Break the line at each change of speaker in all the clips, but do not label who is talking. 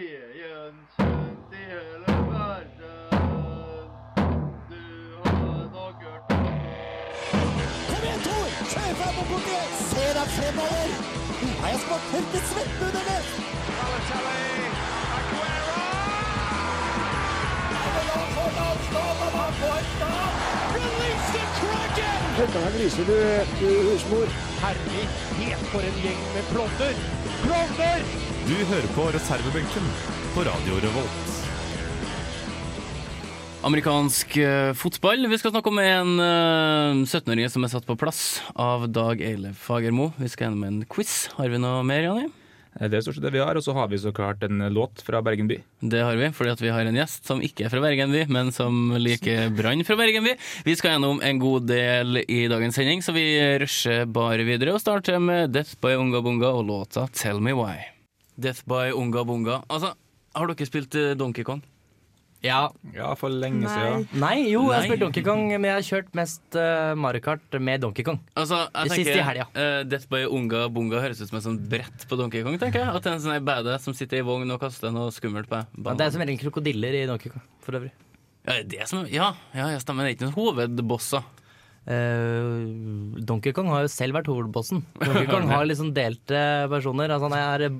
Veden kjent i hele verden. Du har nok hørt om
Kom igjen, Tor! Kjør fram og bort igjen! Se deg fremover! Nå har jeg spart helt til svette under det!
Du hører på reservebenken på Radio Revolt.
Amerikansk eh, fotball. Vi skal snakke om en eh, 17-åring som er satt på plass av Dag Eilef Fagermo. Vi skal gjennom en quiz. Har vi noe mer, Jani?
Det er stort sett det vi har, og så har vi så klart en eh, låt fra Bergen by.
Det har vi, fordi at vi har en gjest som ikke er fra Bergen, vi, men som liker Brann fra Bergen. Vi Vi skal gjennom en god del i dagens sending, så vi rusher bare videre og starter med Death by Unga Bunga og låta 'Tell Me Why'. Death by Unga Bunga. Altså, har dere spilt eh, Donkey Kong?
Ja.
Ja, for lenge siden.
Nei, jo, jeg har
Nei.
spilt Donkey Kong, men jeg har kjørt mest eh, Mario Kart med Donkey Kong.
Altså, jeg
Det
tenker,
siste i helga.
eh, Death by Unga Bunga høres ut som et sånt brett på Donkey Kong. tenker jeg At det er en sånn her badass som sitter i vogn og kaster noe skummelt på
Ja,
banen.
det er som regel krokodiller i Donkey Kong, for øvrig.
ja, det er det som, ja, ja, jeg stemmer. Det er ikke noen hovedbosser.
Eh, Donkey Kong har jo selv vært hovedbossen. Donkey Kong har liksom delte personer. Altså Han er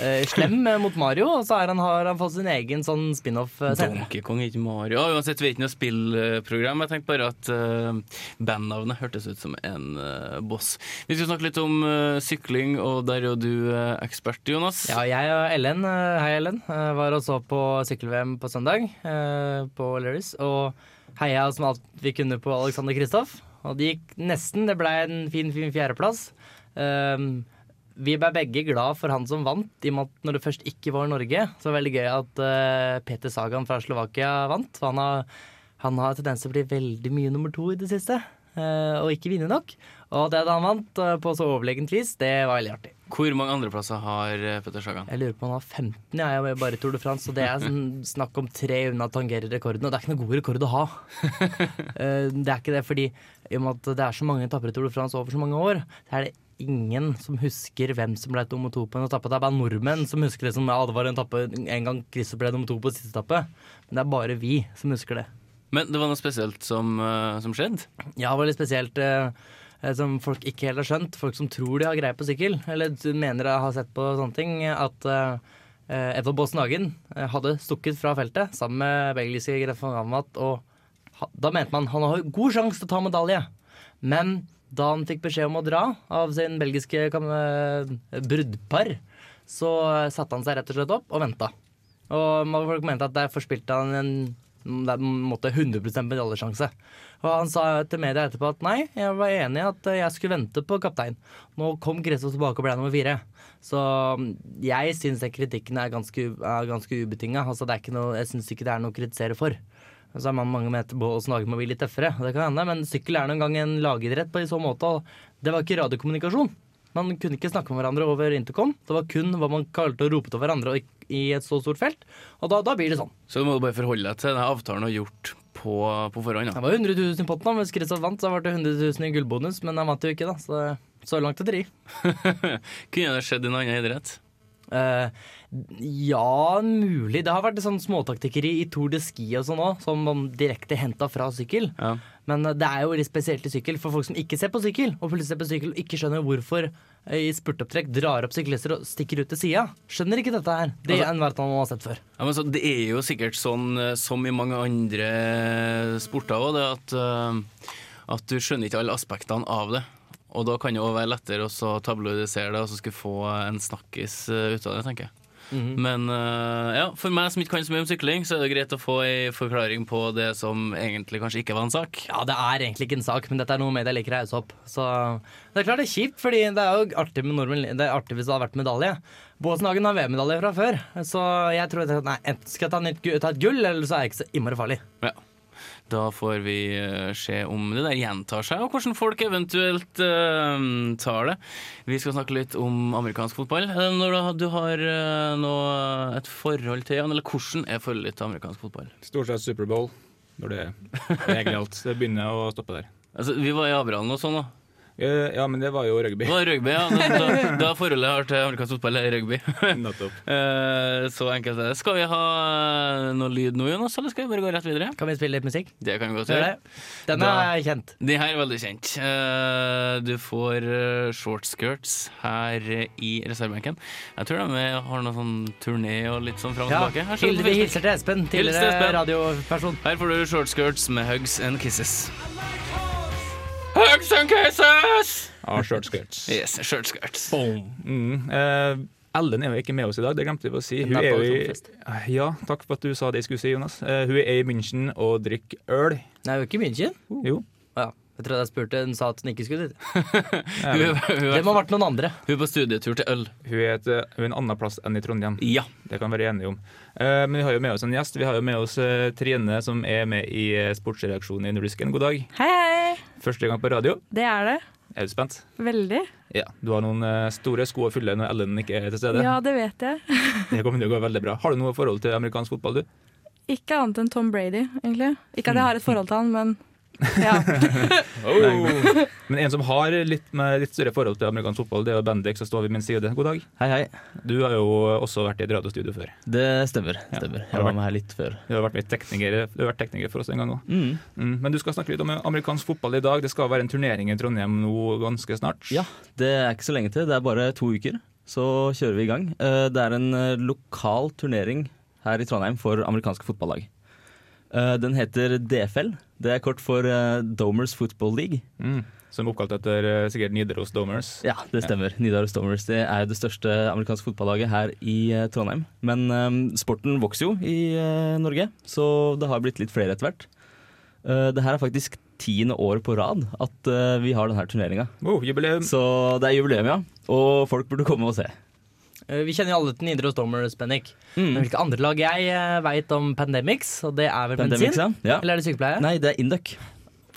eh, slem mot Mario, og så er han, har han fått sin egen sånn spin-off. eh, senere.
Donkey Kong, ikke Mario. Ja, uansett, vi er ikke noe spillprogram. Jeg tenkte bare at uh, bandnavnet hørtes ut som en eh, boss. Vi skal snakke litt om eh, sykling, og der er jo du eh, ekspert, Jonas.
Ja, jeg og Ellen, eh, hei Ellen, eh, var og så på sykkel-VM på søndag eh, på Lerris. Og heia som alt vi kunne på Alexander Kristoff. Og det gikk nesten. Det ble en fin, fin fjerdeplass. Um, vi ble begge glad for han som vant, i og med at når det først ikke var Norge, så var det veldig gøy at eh, Peter Sagan fra Slovakia vant. For han har, han har tendens til å bli veldig mye nummer to i det siste, eh, og ikke vinne nok. Og det at han vant eh, på så overlegent vis, det var veldig artig.
Hvor mange andreplasser har eh, Petter Sagan?
Jeg lurer på om han var 15, ja, jeg var bare i Tour de France. Og det er sånn, snakk om tre unna tangerer rekorden, og det er ikke noen god rekord å ha. Eh, det er ikke det, fordi i og med at det er så mange etapper i Tour de France over så mange år, så er det ingen som husker hvem som ble nummer to på en etappe. Det er bare nordmenn som husker det som ja, det var en etappe en gang Christer ble nummer to på siste etappe. Men det er bare vi som husker det.
Men det var noe spesielt som, eh, som skjedde?
Ja, det var litt spesielt eh, eh, som folk ikke helt har skjønt. Folk som tror de har greie på sykkel, eller d- mener de har sett på sånne ting, at eh, eh, Edvard Baasen Hagen eh, hadde stukket fra feltet sammen med belgiske Grefan Gamat, og ha, da mente man han har god sjanse til å ta medalje. Men da han fikk beskjed om å dra av sin belgiske kam- eh, bruddpar, så eh, satte han seg rett og slett opp og venta. Og mange folk mente at der forspilte han en der måtte 100 medaljesjanse. Og han sa til media etterpå at nei, jeg var enig i at jeg skulle vente på kaptein. Nå kom Kristoff tilbake og ble nummer fire. Så um, jeg syns den kritikken er ganske, u- er ganske ubetinga. Altså, det er ikke noe, jeg syns ikke det er noe å kritisere for. Så er man mange med etterpå og snakker med å bli litt tøffere, og det kan hende, men sykkel er nå engang en lagidrett på i så måte. og Det var ikke radiokommunikasjon. Man kunne ikke snakke med hverandre over intercom. Det var kun hva man kalte å rope til hverandre i- i et så stort felt. Og da, da blir det sånn.
Så du må bare forholde deg til denne avtalen du har gjort på, på forhånd.
Det
Da.
var 100 000 i potten, da, hvis Kristian vant, så ble det 100 000 i gullbonus, men han vant jo ikke, da. Så, så langt å dri.
Kunne det skjedd i en annen idrett?
Eh, ja, mulig. Det har vært sånn småtaktikkeri i Tour de Ski og sånn òg, som man direkte henta fra sykkel.
Ja.
Men eh, det er jo litt spesielt i sykkel for folk som ikke ser på sykkel, og plutselig ser på sykkel og ikke skjønner hvorfor eh, i spurtopptrekk drar opp syklister og stikker ut til sida. Skjønner ikke dette her. Det er en verden man har sett før.
Ja, men så det er jo sikkert sånn eh, som i mange andre sporter òg, det at, eh, at du skjønner ikke alle aspektene av det. Og da kan det òg være lettere å så tabloidisere det og så skulle få en snakkis eh, ut av det, tenker jeg. Men eh, ja, for meg som ikke kan så mye om sykling, så er det greit å få ei forklaring på det som egentlig kanskje ikke var en sak.
Ja, det er egentlig ikke en sak, men dette er noe media liker å hausse opp. Så det er klart det er kjipt, fordi det er jo artig med nordmenn. Det er artig hvis det hadde vært medalje. Båsenhagen har VM-medalje fra før, så jeg tror at nei, enten skal jeg ta, nytt, gu- ta et gull, eller så er jeg ikke så innmari farlig.
Ja. Da får vi eh, se om det der gjentar seg, og hvordan folk eventuelt eh, tar det. Vi skal snakke litt om amerikansk fotball. Eh, Når du har- du har eh, noe, et forhold til Jan, eller hvordan er forholdet ditt til amerikansk fotball?
Stort sett Superbowl. Når det det er egentlig alt. Det begynner å stoppe der.
Altså, vi var i Abrahallen og sånn, da.
Eh, Ja, men det var jo rugby.
Det var rugby, ja. Da, da, da forholdet jeg har til amerikansk fotball, er rugby.
Nettopp.
Eh, Så enkelt er det. Skal vi ha eh, noe lyd nå, Jonas, eller skal vi bare gå rett videre?
Kan vi spille litt musikk?
Det kan vi godt
Gjør
gjøre.
det. Den
Da-
er kjent.
De her er veldig kjent. Eh, Du får eh, shortskirts her eh, i reservebenken. Jeg tror de eh, har noe sånn turné og litt sånn fram og
Ja,
tilbake. Her, står det
Hilde,
på
vi
Facebook.
hilser til Espen,
Hils til
tidligere
Espen.
radioperson.
her får du shortskirts med hugs and kisses. Hugs and kisses!
Av short skirts.
Yes, shortskirts.
Mm. Eh, Ellen er jo ikke med oss i dag, det glemte vi å si. Hun
er
er
på
jo
tomfest.
i Eh, Ja, takk for at du sa det jeg skulle si, Jonas. Eh, Hun er i München og drikker øl.
Nei, hun er ikke i München.
Jo.
Ja, jeg trodde jeg spurte. Hun sa at hun ikke skulle dit.
Hun, er- hun,
Det
er-
må ha vært noen andre.
hun er på studietur til øl.
Hun er, et, eh, hun er en annen plass enn i Trondheim.
Ja.
Det kan vi være enige om. Eh, Men vi har jo med oss en gjest. Vi har jo med oss eh, Trine, som er med i eh, sportsredaksjonen i Nordisken. God dag.
Hei, hei.
Første gang på radio.
Det er det.
Er du spent?
Veldig.
Ja. Du har noen eh, store sko å fylle når Ellen ikke er til stede.
Ja, det vet jeg.
Det kommer til å gå veldig bra. Har du noe forhold til amerikansk fotball, du?
Ikke annet enn Tom Brady, egentlig. Ikke at jeg har et forhold til han, men ja.
Oh.
Nei. Men en som har litt, med litt større forhold til amerikansk fotball, det er jo Bendik, som står ved min side. God dag.
Hei, hei.
Du har jo også vært i et radiostudio før.
Det stemmer. stemmer.
Har
Jeg
du
var med her litt før.
Du har vært med tekniker, du har vært tekniker for oss en gang òg. Mm. Men du skal snakke litt om amerikansk fotball i dag. Det skal være en turnering i Trondheim nå ganske snart.
Ja, Det er ikke så lenge til. Det er bare to uker, så kjører vi i gang. Eh, Det er en eh, lokal turnering her i Trondheim for amerikanske fotballag. Eh, Den heter DFL. Det er kort for eh, Domers Football League.
Mm. Som er oppkalt etter eh, sikkert Nidaros Domers.
Ja, det stemmer. Nidaros Domers det er jo det største amerikanske fotballaget her i eh, Trondheim. Men eh, sporten vokser jo i eh, Norge, så det har blitt litt flere etter hvert. Eh, det her er faktisk tiende år på rad at eh, vi har denne turneringa.
Oh, jubileum!
Så det er jubileum, ja. Og folk burde komme og se.
Eh, Vi kjenner jo alle til Nidaros Dormers, Bennik.
Mm.
Men hvilke andre lag jeg eh, vet om Pandemics, og det er vel
Pandemics,
medisin?
ja. Ja.
Eller er det sykepleie?
Nei, det er Induc.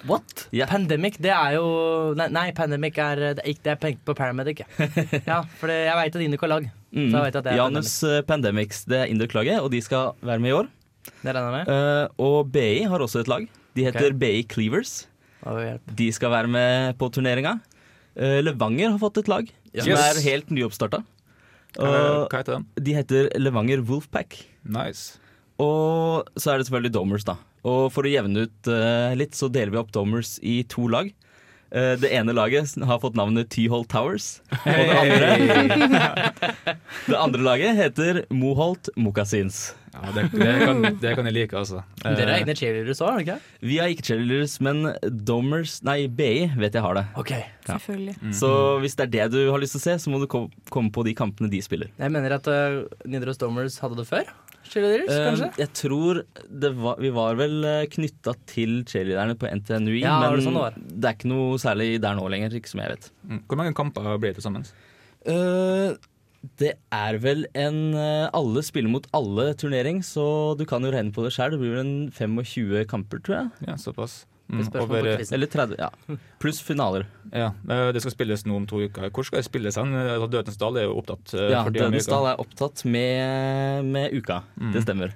What?
Ja.
Pandemic, det er jo Nei, nei Pandemic er det er, ikke- det er tenkt på Paramedic. jeg. Ja, for det, jeg veit at Indico har lag.
Mm.
Så jeg vet at det er
Janus eh, Pandemics, det er Induc-laget, og de skal være med i år.
Pandemic. Det regner jeg med.
Eh, og BI har også et lag. De heter
Ok.
BI Cleavers.
Å, hjelp.
De skal være med på turneringa. Eh, Levanger har fått et lag som
Yes.
er helt nyoppstarta.
Eh,
Og
Hva heter den?
de heter Levanger Wolfpack.
Nice.
Og så er det selvfølgelig Domers, da. Og for å jevne ut eh, litt, så deler vi opp Domers i to lag. Eh, det ene laget har fått navnet Tyholt Towers. Og det andre, det andre laget heter Moholt Mokassins.
Ja, det, det, kan, det kan jeg like, altså. Eh,
Dere er egne cheerleaders òg, er dere ikke?
Vi har ikke cheerleaders, men Domers, nei, BI vet jeg har det.
Okay.
Selvfølgelig.
Så hvis det er det du har lyst til å se, så må du ko- komme på de kampene de spiller.
Jeg mener at uh, Nidaros Dormers hadde det før. Cheerleaders,
Eh,
kanskje?
jeg tror det var, Vi var vel knytta til cheerleaderne på NTNUI,
Ja, var
men
det sånn det var?
det er ikke noe særlig der nå lenger, ikke som jeg vet.
mm. Hvor mange kamper blir det til sammen?
Eh, det er vel en eh, alle spiller mot alle-turnering, så du kan jo regne på det sjøl. Det blir vel en 25 kamper, tror jeg.
Ja, såpass. Mm,
Spørsmål på
over,
quiz.
Eller 30, ja. Pluss finaler.
ja, eh, det skal spilles nå om to uker. Hvor skal det spilles hen? Eh, Dødens Dal er jo opptatt. eh,
Ja,
for tiden i Mm.
Dødens
uka.
Dal er opptatt med, med uka. Det stemmer.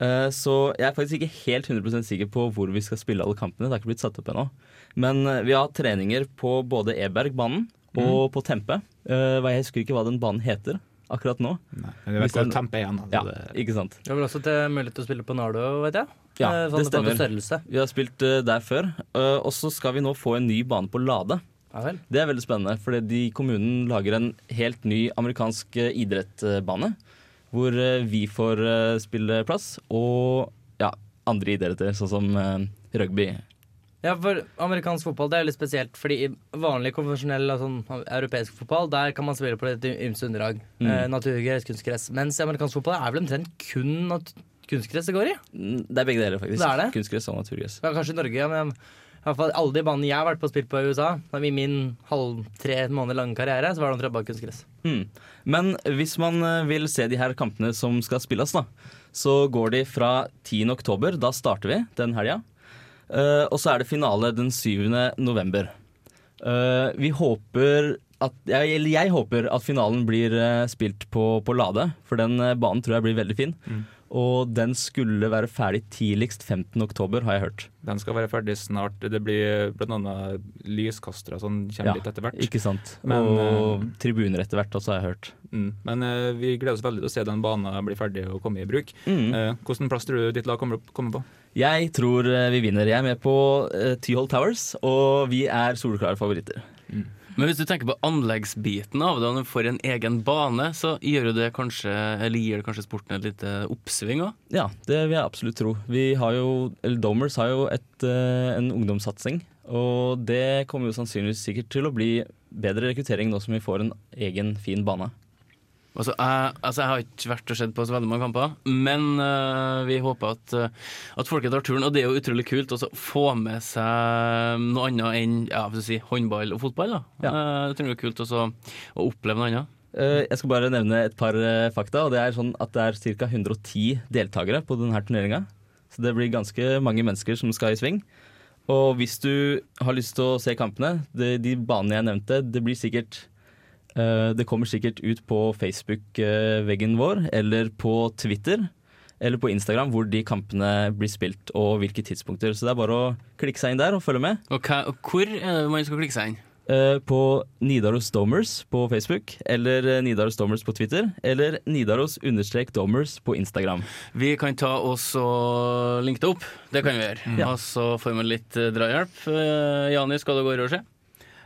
Eh, så jeg er faktisk ikke helt 100 sikker på hvor vi skal spille alle kampene. Det er ikke blitt satt opp ennå. Men eh, vi har hatt treninger på både Ebergbanen
Mm.
og på Tempe. Eh, hva- jeg husker ikke hva den banen heter akkurat nå.
Nei, men jeg
Hvis
vet hvor
den-
Tempe er igjen. Altså,
Ja,
det-
ikke sant.
Det var vel også til mulighet til å spille på Nardo, vet jeg.
Ja,
Eh,
det
sånn på
stemmer.
størrelse.
Vi har spilt eh, der før. Eh, og så skal vi nå få en ny bane på Lade.
Ja vel.
Det er veldig spennende, fordi de kommunen lager en helt ny amerikansk eh, idrettbane. Hvor eh, vi får eh, spille plass, og ja, andre idretter, sånn som eh, rugby.
Ja, for amerikansk fotball det er litt spesielt. Fordi i vanlig, konvensjonell og sånn, europeisk fotball, der kan man spille på litt ymse underlag. Eh, naturgress, kunstgress. Mens i amerikansk fotball er det vel omtrent kun nat kunstgress det går i.
Mm, Det er begge deler, faktisk.
Det er det?
Kunstgress og naturgress.
Ja, kanskje i Norge, ja, men i hvert fall alle de banene jeg har vært på og spilt på i USA, i min halv tre måneder lange karriere, så var det omtrent bare kunstgress.
Mm. Men hvis man eh, vil se de her kampene som skal spilles, da, så går de fra 10. oktober, da starter vi den helga. Eh, og så er det finale den 7. november. Eh, vi håper at jeg, Eller
Hmm.
jeg håper at finalen blir eh, spilt på, på Lade, for den eh, banen tror jeg blir veldig fin. Og den skulle være ferdig tidligst 15.10, har jeg hørt.
Den skal være ferdig snart. Det blir bl.a. lyskastere og sånn kommer
Ja,
litt etter hvert.
Ikke sant?
Men, eh,
og tribuner etter hvert også, har jeg hørt.
Mm. Men eh, vi gleder oss veldig til å se den banen bli ferdig og komme i bruk.
Mm.
Eh, hvordan plass tror du ditt lag kommer, kommer på?
Jeg tror eh, vi vinner. Jeg er med på eh, Tyholt Towers, og vi er soleklare favoritter.
Men hvis du tenker på anleggsbiten av det, og du får en egen bane, så gjør jo det kanskje, eller gir det kanskje sporten et lite oppsving òg.
Ja, det vil jeg absolutt tro. Vi har jo, eller Domers har jo et, eh, en ungdomssatsing. Og det kommer jo sannsynligvis sikkert til å bli bedre rekruttering nå som vi får en egen fin bane.
Altså, jeg, altså, jeg har ikke vært og sett på så veldig mange kamper, men øh, vi håper at, øh, at folket tar turen. Og det er jo utrolig kult også å få med seg noe annet enn ja, hva skal jeg si, håndball og fotball. Da.
Ja.
Eh, det tror jeg er kult også å oppleve noe annet.
Eh, Jeg skal bare nevne et par eh, fakta. og Det er sånn at det er ca. 110 deltakere på denne turneringa. Så det blir ganske mange mennesker som skal i sving. Og hvis du har lyst til å se kampene, de, de banene jeg nevnte, det blir sikkert eh, Det kommer sikkert ut på Facebook-veggen vår, eller på Twitter, eller på Instagram, hvor de kampene blir spilt, og hvilke tidspunkter. Så det er bare å klikke seg inn der og følge med.
Og hva, og hvor er det man skal klikke seg inn?
Eh, på Nidaros Domers på Facebook, eller eh, Nidaros Domers på Twitter, eller Nidaros understrek Domers på Instagram.
Vi kan ta og så linke det opp. Det kan vi gjøre. Og så får man litt eh, drahjelp. Eh, Jani, skal du gå over og se?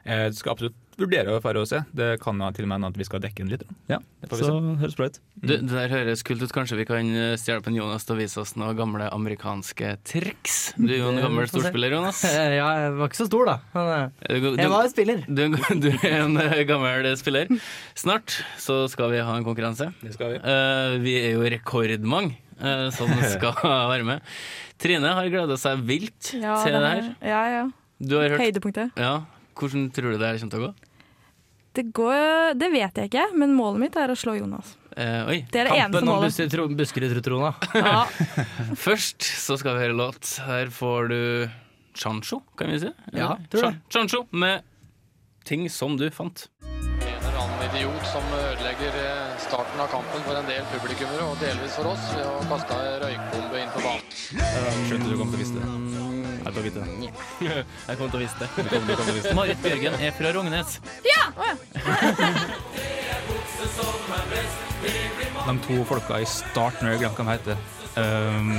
Jeg skal absolutt vurdere å dra og se. Det kan jo til og med hende at vi skal dekke den litt. da.
Ja,
Det får vi
Så høres bra ut.
Mm.
Du, det der høres kult ut. Kanskje vi kan eh, stjele på en Jonas til å vise oss noen gamle amerikanske triks? Du er jo en
Det
gammel
får vi se.
storspiller, Jonas.
Eh, Ja, jeg var ikke så stor, da. Men, eh,
Er Du,
jeg
du,
var jo spiller.
du, du er en eh, gammel spiller. Snart så skal vi ha en konkurranse.
se. Det skal vi.
Eh, vi er jo rekordmange eh, som skal være med. Trine har gleda seg vilt
Ja,
til det her.
er- Ja, ja.
Du har hørt
Høydepunktet.
Ja, hvordan tror du det her kommer til å gå?
Det går Det vet jeg ikke, men målet mitt er å slå Jonas.
Eh, oi.
Det er det eneste
Kampen om
målet.
Buskerud- Buskerud-trona.
Ja.
Først så skal vi høre låt. Her får du Chancho, kan vi si?
Ja, tror det.
Chancho med ting som du fant.
en eller annen idiot som ødelegger eh, starten av kampen for en del publikummere, og delvis for oss, ved å kaste en røykbombe inn på banen.
Skjønte du kom til å vise det. Jeg tar vite det.
Jeg kommer til å vise det. Marit Bjørgen er fra Rognes.
De to folka i starten, jeg har glemt hva de heter. Um,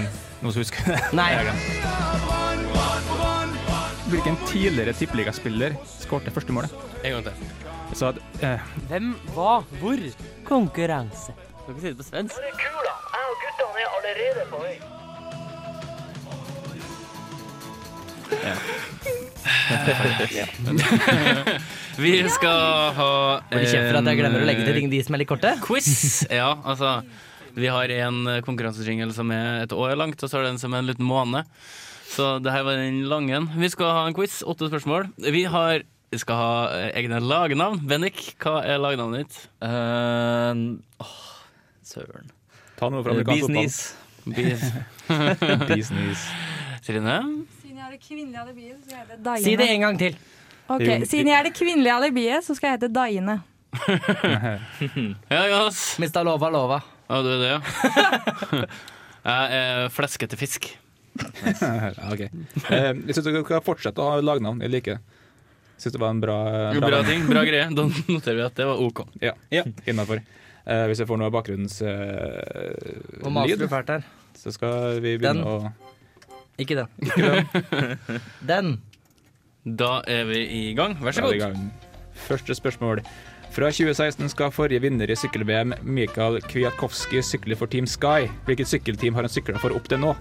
noen som husker det?
Nei.
Jeg har glemt. Hvilken tidligere tippeligaspiller skårte første målet?
En gang til.
Så at, eh,
Hvem, hva, hvor? Konkurranse.
Skal ikke si det på svensk. Vi skal ha Eh,
Får de kjeft for at jeg glemmer å legge til ting de som er litt korte?
quiz. Ja, altså Vi har en eh, konkurransejingle som er et år langt, og så har den som er en liten måned. Så det her var den lange. en. Vi skal ha en quiz. Åtte spørsmål. Vi har vi skal ha eh, egne lagnavn. Bendik, hva er lagnavnet ditt?
Eh, åh, søren.
ta noe fra
Eh,
amerikansk fotball.
Business.
Bi-
Bisnis.
Trine?
Siden jeg er det kvinnelige alibiet, så skal jeg hete
Si det en gang til.
Ok, Siden jeg er det kvinnelige alibiet, så skal jeg hete Daine.
Ja, Jonas.
Mista lova, lova.
Ja, du er det, ja. Jeg er fleskete fisk.
Ja, ok. Eh, jeg syns dere skal fortsette å ha lagnavn. Jeg liker det. Syns det var en bra,
Jo, bra ting, bra greie. Da noterer vi at det var OK.
Ja, ja innafor. hvis jeg får noe bakgrunnslyd,
Og maser du fælt her.
så skal vi
Den.
begynne å
Ikke den. den.
Da er vi i gang. Vær så
Ja, det
god.
er i gang. Første spørsmål. Fra 2016 skal forrige vinner i sykkel-VM, Mikael Kwiatkowski, sykle for Team Sky. Hvilket sykkelteam har han sykla for opp til nå?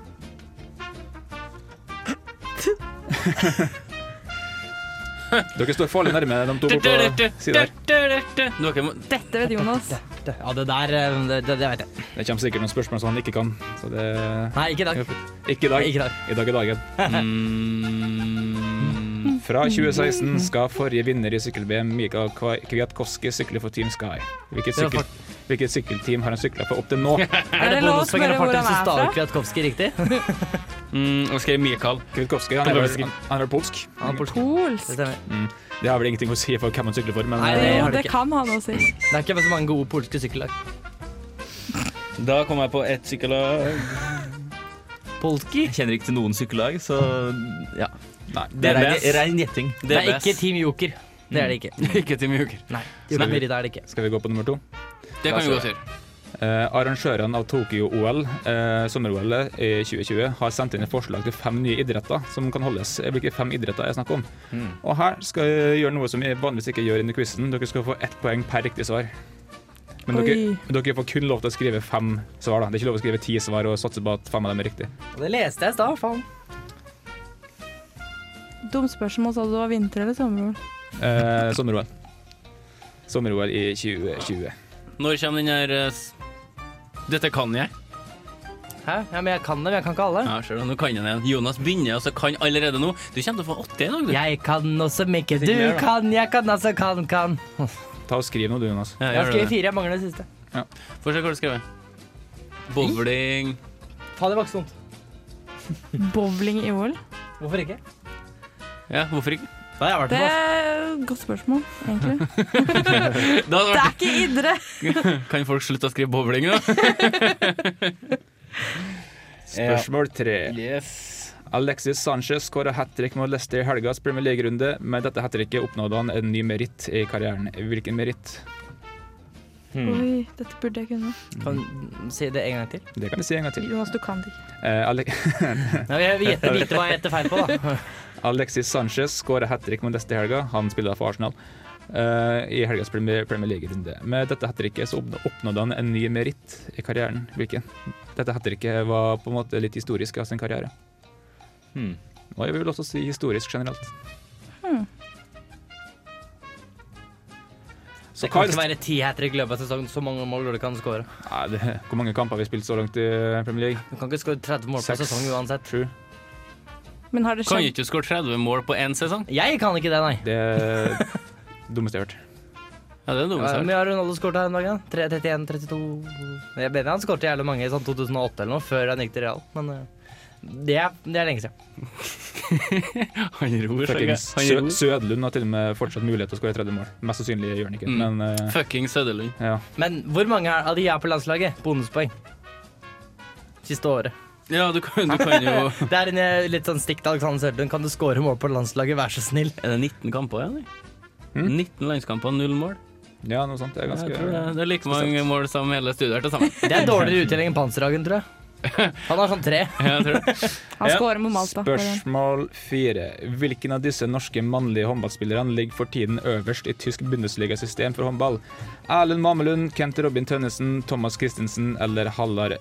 Dere står farlig nærme de to borte på sida her.
Du har ikke må-
Dette vet Jonas.
Ja, det der eh, Det, det, det vet jeg.
Det kommer sikkert noen spørsmål som han ikke kan. Så det
Nei, ikke i dag.
Ikke i dag.
Ikke i dag.
I dag er dagen.
Mm.
Fra
Mm.
2016 skal forrige vinner i sykkel-VM, Mikael Kwi- Kwiatkowski, sykle for Team Sky. Hvilket,
Det var
sykkel, hvilket sykkelteam har han sykla for opp til nå?
Er det lov å
Bonuspoeng
spørre
eller
hvor
farter,
han
så
er
staver
fra?
Kwiatkowski riktig.
Mm, jeg skrev Mikael.
Kwiatkowski, han er vel, han er vel polsk?
Han er polsk.
Polsk.
Det stemmer.
Det har vel ingenting å si for hvem han sykler for, men
Nei,
Jo,
det har du
det
ikke.
kan han også si.
Det er ikke så mange gode polske sykkellag.
Da kom jeg på ett sykkellag.
Polki?
Jeg kjenner ikke til noen sykkellag, så ja.
Nei,
Det
DBS.
er rein, rein gjetting.
Det er
DBS.
ikke Team Joker. Det er det ikke.
Ikke Team Joker.
Mm. Nei, Team Joker er det ikke.
eh, Skal vi gå på nummer to?
Det kan vi godt gjøre.
Eh, arrangørene av Tokyo-OL, eh, sommer-OL i 2020, har sendt inn et forslag til fem nye idretter som kan holdes. eh, Hvilke fem idretter er det snakk om? Og her skal jeg gjøre noe som vi vanligvis ikke gjør inni quizen. Dere skal få ett poeng per riktig svar. Men dere,
Oi.
dere får kun lov til å skrive fem svar. da. Det er ikke lov å skrive ti svar og satse på at fem av dem er riktig.
Og det leste jeg i stad, faen.
Dumt spørsmål, sa du det var vinter eller sommer?
Eh, sommer-OL. Sommer-OL i 2020.
Når kommer den her eh, s- Dette kan jeg.
Hæ? Ja, men jeg kan det, men jeg kan ikke alle.
Ja, ser du, nå kan han igjen. Jonas begynner, altså kan allerede nå. Du kommer til å få åtte i dag, du.
Jeg kan også mikke, du
mer, da.
kan, jeg kan altså kan, kan.
Ta og Skriv noe, du, Jonas.
Ja,
Jeg har
gjør det.
skrevet fire, jeg mangler det siste.
Få se hva du har skrevet. Bowling
Faen, det var ikke så dumt.
Bowling i OL?
Hvorfor ikke?
Ja, hvorfor ikke?
Nei, jeg har vært
Det
på
er et godt spørsmål, egentlig.
Da hadde det
Det er ikke idrett!
vært, kan folk slutte å skrive bowling, da?
Spørsmål tre.
Yes.
Alexis Sanchez skåra hat trick mot Leicester i helgas Premier League-runde. Med dette hat tricket oppnådde han en ny meritt i karrieren. Hvilken meritt?
Oi, dette burde jeg kunne.
Kan du si det en gang til?
Det kan vi si en gang til.
Jonas, du kan det ikke.
Eh, Ale
Ja, jeg vil gjette vite hva jeg gjetter feil på, da.
Alexis Sanchez skåra hat trick mot Leicester i helga. Han spiller for Arsenal. eh, I helgas Premier Premier League-runde. Med dette hat tricket så oppnå- oppnådde han en ny meritt i karrieren. Hvilken? Dette hat tricket var på en måte litt historisk av sin karriere.
Hmm.
Og jeg vil også si historisk generelt. Så
Det
hva
kan
er det
ikke være ti hat trick i løpet av sesongen, så mange mål du kan skåre.
Nei, det, hvor mange kamper har vi spilt så langt i Premier League?
Du kan ikke skåre 30 mål på
Seks.
sesong uansett.
Sju.
Men har det
Kan
skjedd
ikke du skåre 30 mål på én sesong?
Jeg kan ikke det, nei.
Det er dummeste jeg har hørt.
Ja, det er det
Ja,
dummeste
Hvor
jeg har hørt.
mye har Ronaldo skåret her en dag? da? Tre- 31, 32 Jeg mener han skåret jævlig mange i sånn 2008 eller noe, før han gikk til Real. Men eh, det er, det er lenge siden.
Han ror. så gøy.
Fuckings
Han
Sø-
ror.
Sødlund har til og med fortsatt mulighet til å skåre 30 mål. Mest sannsynlig gjør han ikke,
Mm.
men eh,
Fucking Søderlund.
ja.
Men hvor mange er- av de er på landslaget? Bonuspoeng. Siste året.
Ja, du kan, du kan jo
Det er en eh, litt sånn stikk til Alexander Sørlund. Kan du score mål på landslaget, vær så snill?
Er det 19 kamper igjen? eller?
Hm?
Mm.
19 landskamper, null mål.
ja, noe sånt. Det er ganske
Jeg tror det, det er like mange mål som hele studiet til sammen.
Det er dårligere uttelling enn Panserhagen, tror jeg. Han har sånn tre.
Jeg tror det.
Han
Ja.
scorer mot Malta. bare.
Spørsmål fire. Hvilken av disse norske mannlige håndballspillerne ligger for tiden øverst i tysk bundesligasystem for håndball? Erlend Mamelund, Kent Robin Tønnesen, Thomas Christensen eller Hallar,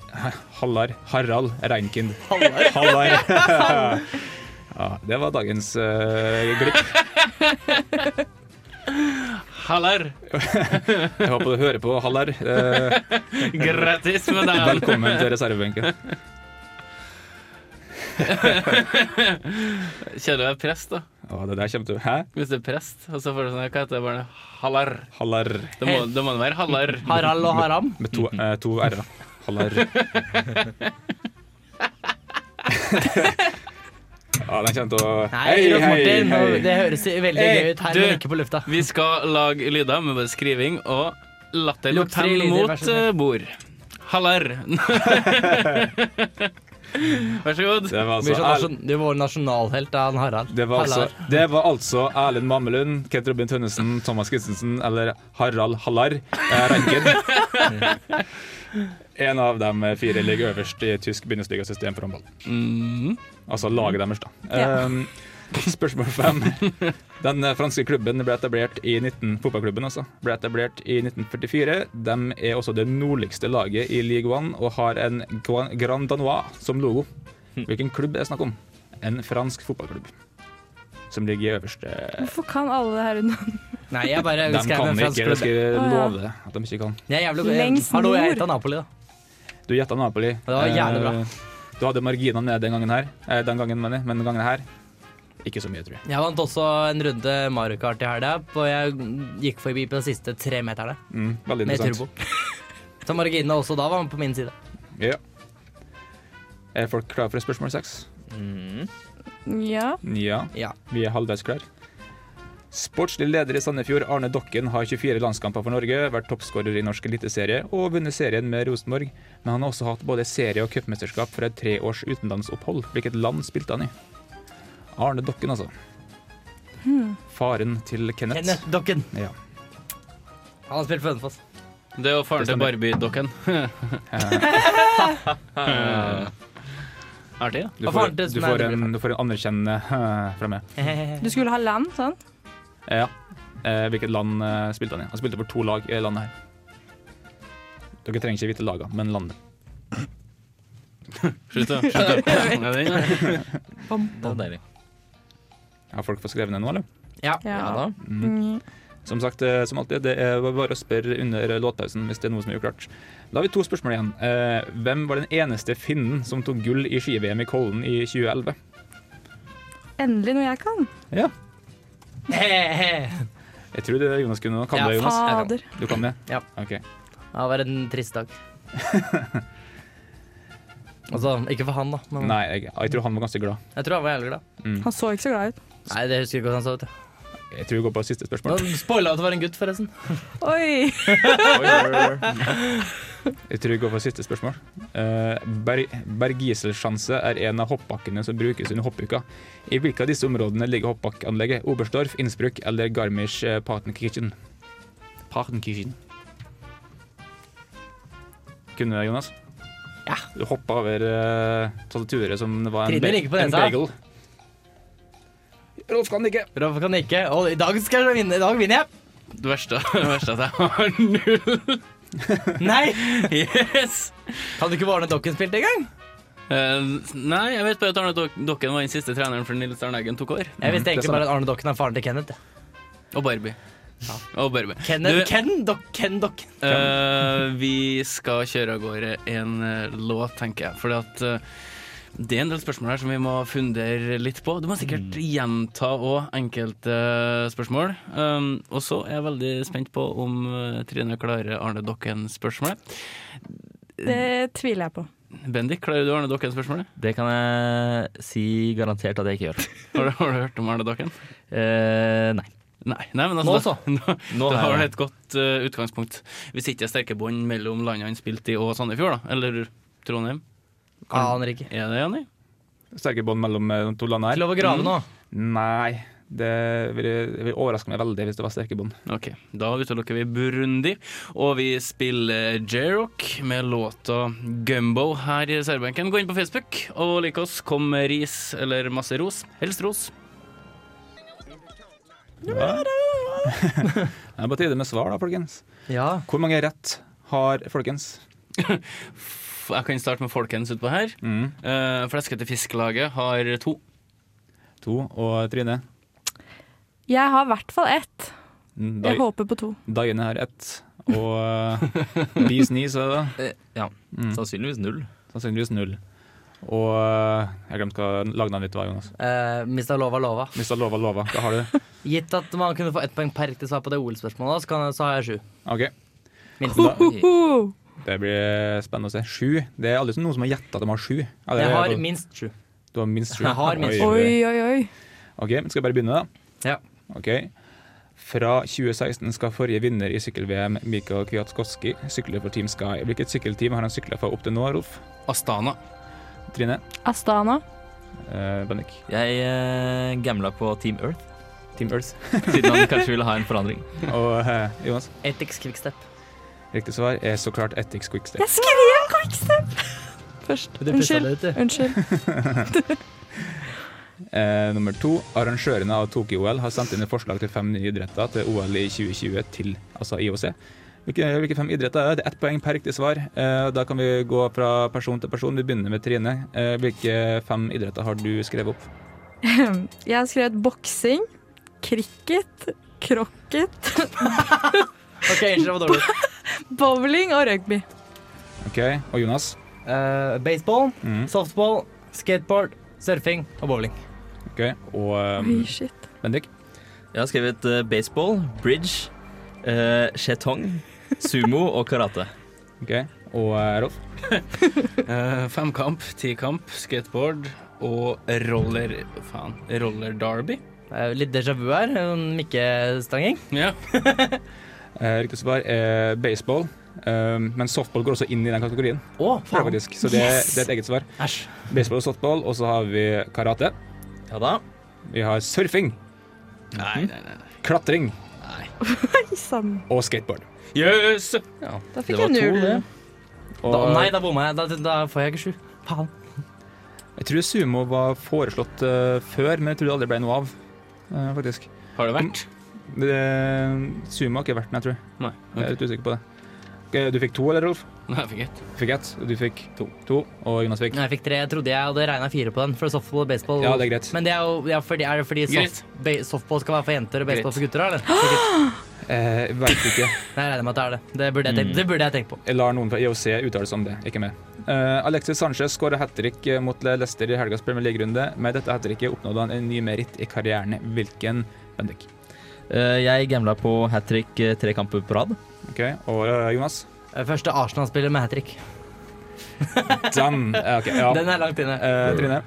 Hallar Harald Reinkind? Hallar. ja, det var dagens eh, glipp.
Haller!
Jeg håper du hører på, Hallar. Eh,
Grattis med deg!
velkommen til reservebenken.
Kjedelig å være prest, da.
Å, det der kommer til Hæ?
Hvis du er prest, og så får du sånn Hva heter det barnet? Haller.
Hallar.
Det må, det må være Haller.
Harald og Haram.
Med to, eh, to r-er. Hallar. Ja, den kommer til å
Nei, Rolf Martin, nå- det høres veldig
Hei,
gøy ut her,
du.
men ikke på lufta.
Vi skal lage lyder med både skriving og latter.
Lukt tre
Pen
lyder,
mot
vær så snill.
eh, bord. Haller. Vær så god.
Det var
Du
altså,
sånn, er nasjon- du er vår nasjonalhelt, da, han Harald.
det var altså,
Hallar.
det var altså Erlend Mamelund, Kent Robin Tønnesen, Thomas Christensen eller Harald Hallar eh, Ranken. En av de fire ligger øverst i tysk bindestigasystem for håndball.
Mm.
Mhm.
Altså laget deres, da.
Ja.
Ehm, spørsmål fem. Den eh, franske klubben ble etablert i 19, fotballklubben altså, ble etablert i 1944. De er også det nordligste laget i League One og har en Guan- Grand Danois som logo.
Hm.
Hvilken klubb er det snakk om? En fransk fotballklubb. Som ligger i øverste
Hvorfor kan alle det her unna?
Nei, jeg bare
De
skrev
kan
en
ikke,
fransk
jeg
klubb.
skal
Å, ja.
love at de ikke kan.
Jeg er jævlig god.
Lengst
Hallo, jeg
nord.
heter Napoli, da.
Du gjetta Napoli.
Det var jævlig bra.
Eh, Du hadde marginene nede den gangen her. Eh, Den gangen, mener jeg. Men den gangen her, ikke så mye, tror jeg.
Jeg vant også en runde Mario Kart i helga, og jeg gikk forbi på de siste tre meterne
Mm, veldig
med
interessant.
turbo. Så marginene også da var på min side.
Ja. Er folk klare for spørsmål seks?
Mm.
Ja.
Ja,
Ja.
vi er halvveis klare. Sportslig leder i Sandefjord, Arne Dokken, har 24 landskamper for Norge, vært toppskårer i norsk eliteserie og vunnet serien med Rosenborg. Men han har også hatt både serie- og cupmesterskap fra et tre års utenlandsopphold. Hvilket land spilte han i? Arne Dokken, altså. Faren til Kenneth.
Hmm. Kenneth Dokken.
Ja.
Han har spilt for Hønefoss.
Det var faren til
Det stemmer.
Barbie-dokken. Artig, ja.
Du
Og
får,
faren til
du
Smeide
får
ble
en, du får en anerkjennende eh, fra meg.
Du skulle ha land, sånn. sa han.
Eh, Ja. Eh, Hvilket land eh, spilte han i? Han spilte for to lag i landet her. Dere trenger ikke vite lagene, men landet.
Slutt, da. Slutt, da. Ja, den, ja.
Det er deilig.
Har folk fått skrevet ned nå, eller?
Ja da.
Mm.
Som sagt, eh, som alltid, det er bare å spørre under låtpausen hvis det er noe som er uklart. Da har vi to spørsmål igjen. Eh, Hvem var den eneste finnen som tok gull i ski-VM i Kollen i 2011?
Endelig noe jeg kan.
Ja, jeg tror det Jonas kunne noe. Kan
Ja,
du det, Jonas?
Fader.
Du kan det?
Ja.
Ok.
Det var en trist dag. Altså, ikke for han, da. Men
Nei, jeg, jeg tror han var ganske glad.
jeg tror han var jævlig glad.
Han så ikke så glad ut.
Nei, det husker jeg ikke hvordan han så ut. jeg.
Jeg tror vi går på siste spørsmål.
Nå spoila at det var en gutt, forresten.
Oi!
Jeg tror vi går for siste spørsmål. Eh, Ber Bergiselsjanse er en av hoppbakkene som brukes under hoppuka. I hvilke av disse områdene ligger hoppbakkanlegget? Oberstdorf, Innsbruck eller eh, Garmisch-Partenkirchen? Partenkirchen. Kunne du det, Jonas? Ja. Du hoppa over uh, tastaturet som det var en,
Trine ligger på
en
nesa.
bagel. Rolf kan ikke.
Rolf kan nikke. Og i dag skal jeg vinne. I dag vinner jeg!
Det verste, det verste er at jeg har null.
Nei!
Yes!
Kan du ikke varne dokken spilte engang?
Eh, nei, jeg vet bare at Arne Dok Dokken var den siste treneren for Nils Arne Eggen tok over.
Jeg
Mm,
visste
det
egentlig
stemmer.
bare at Arne Dokken er faren til Kenneth. jeg.
Og Barbie. Og Barbie.
Kenneth,
Du-
Ken, dok, Ken Dokken.
Eh, vi skal kjøre av gårde en eh, låt, tenker jeg. Fordi at eh, det er en del spørsmål her som vi må fundere litt på. Du må sikkert
Mm.
gjenta òg enkelte eh, spørsmål. Um, og så er jeg veldig spent på om eh, Trine klarer Arne Dokken-spørsmålet.
Det tviler jeg på.
Bendik, klarer du Arne Dokken-spørsmålet?
Det kan jeg si garantert at jeg ikke gjør.
Har, du- har du hørt om Arne Dokken?
Eh, nei.
Nei, nei, men
Nå
altså, da,
Nå
da har
har
du
jeg-
et godt eh, utgangspunkt. Hvis ikke det er sterke bånd mellom landene han spilte i og Sandefjord, da. Eller Trondheim.
Aner ikke.
Er det, Janni?
Sterke bånd mellom eh, de to landene
Ikke
her.
lov å grave nå.
Nei, det vil, det vil overraske meg veldig hvis det var sterke bånd.
Ok, da utelukker vi Burundi, og vi spiller J-Rock med låta Gumbo her i særbenken. Gå inn på Facebook og lik oss. Kom med ris eller masse ros. Helst ros.
Det er på tide med svar, da, folkens.
Ja.
Hvor mange rett har folkens?
F- Jeg kan starte med folkens utpå her.
Mm.
Eh, Fleskete Fiskelaget har to.
To. Og Trine?
Jeg har i hvert fall ett.
Mm,
Jeg
Dai-
håper på to.
Daine har ett. Og Bees Knees er det,
Eh, ja. Sannsynligvis null.
sannsynligvis null. Og eh, jeg glemte hva lagnavnet ditt var, Jonas.
Uh, Mista lova lova.
Hvis du har lova, lova. Hva har du?
Gitt at man kunne få ett poeng per riktig svar på det OL-spørsmålet, så, kan- så har jeg sju.
OK,
Minst.
Ho!
det blir spennende å se. Sju. Det er aldri sånn noen som har gjetta at de har sju. Ja, det
Jeg
er-
har minst sju.
du har minst sju.
Jeg har minst
Oi.
Oi, oi, oi.
OK, men skal jeg bare begynne, da?
Ja.
Ok. Fra 2016 skal forrige vinner i sykkel-VM, Mikael Kwiatkowski, sykle for Team Sky. Hvilket sykkelteam har han sykla for opp til nå, Rolf?
Astana.
Trine?
Astana.
Eh, Bendik?
Jeg eh, gambla på Team Earth,
Team Earth.
siden han kanskje ville ha en forandring.
Og eh, Jonas?
Etix Quickstep.
Riktig svar er så klart Ethics Quickstep.
Jeg skrev quickstep! Først.
Du pisset
Unnskyld.
deg ut, du.
Unnskyld.
Eh, nummer to. Arrangørene av Tokyo-OL har sendt inn et forslag til fem nye idretter til OL i 2020 til altså IOC. Hvilke, hvilke fem idretter er det? Det er ett poeng per riktig svar. Eh, da kan vi gå fra person til person. Vi begynner med Trine. Eh, hvilke fem idretter har du skrevet opp?
Jeg har skrevet boksing, cricket, krokket,
OK, unnskyld, det var dårlig.
bowling og rugby.
Ok, Og Jonas?
Eh, baseball,
Mm.
softball, skateboard, surfing og bowling.
Ok, og
Oi,
um,
shit.
Bendik.
Jeg har skrevet eh, baseball, bridge, uh, shetong, sumo og karate.
Ok, og eh, Rolf.
Eh, femkamp, tikamp, skateboard og roller... Faen. Roller derby.
Eh, Litt déjà vu her. En mikkestanging.
Ja.
Eh, riktig svar er baseball. Eh, men softball går også inn i den kategorien.
Å,
tror jeg
faen!
faktisk. Så det, det er et eget svar.
Æsj.
Baseball og softball, og så har vi karate.
Ja da.
Vi har surfing,
Nei, nei, nei. nei.
klatring
Sann.
og skateboard.
Jøss!
Da fikk
Det var
jeg
to,
null.
det.
Og
Da, nei, da bomma jeg. Da, da får jeg ikke sju. Faen.
jeg tror sumo var foreslått eh, før, men jeg tror det aldri ble noe av. eh, faktisk.
Har det vært?
Det, sumo har ikke vært den, jeg tror.
Nei.
Jeg er litt usikker på det. Ok, Du fikk to, eller, Rolf?
Nei, jeg fikk ett.
Du fikk ett, og du fikk to. to og Jonas fikk
Nei, Jeg fikk tre. Jeg trodde jeg hadde regna fire på den, for softball og baseball
Ja, det er greit.
Men det er jo ja, fordi, er det fordi soft, ba, softball skal være for jenter og baseball for gutter, da? Eller? Sikkert.
Eh, Veit ikke.
Nei, jeg regner med at det er det. Det burde jeg tenkt, det burde jeg tenkt på.
Jeg lar noen fra IOC uttale seg om det, ikke meg. Eh, Alexis Sanchez skåra hat trick eh, mot Leicester i helgas Premier League-runde. Med dette hat tricket oppnådde han en ny meritt i karrieren. Hvilken, Bendik?
Eh, jeg gambla på hat trick tre kamper på rad.
Ok, Og eh, Jonas?
Første Arsenal-spiller med hat trick.
Den! eh, ok, ja.
Den er langt inne.
Eh, Trine?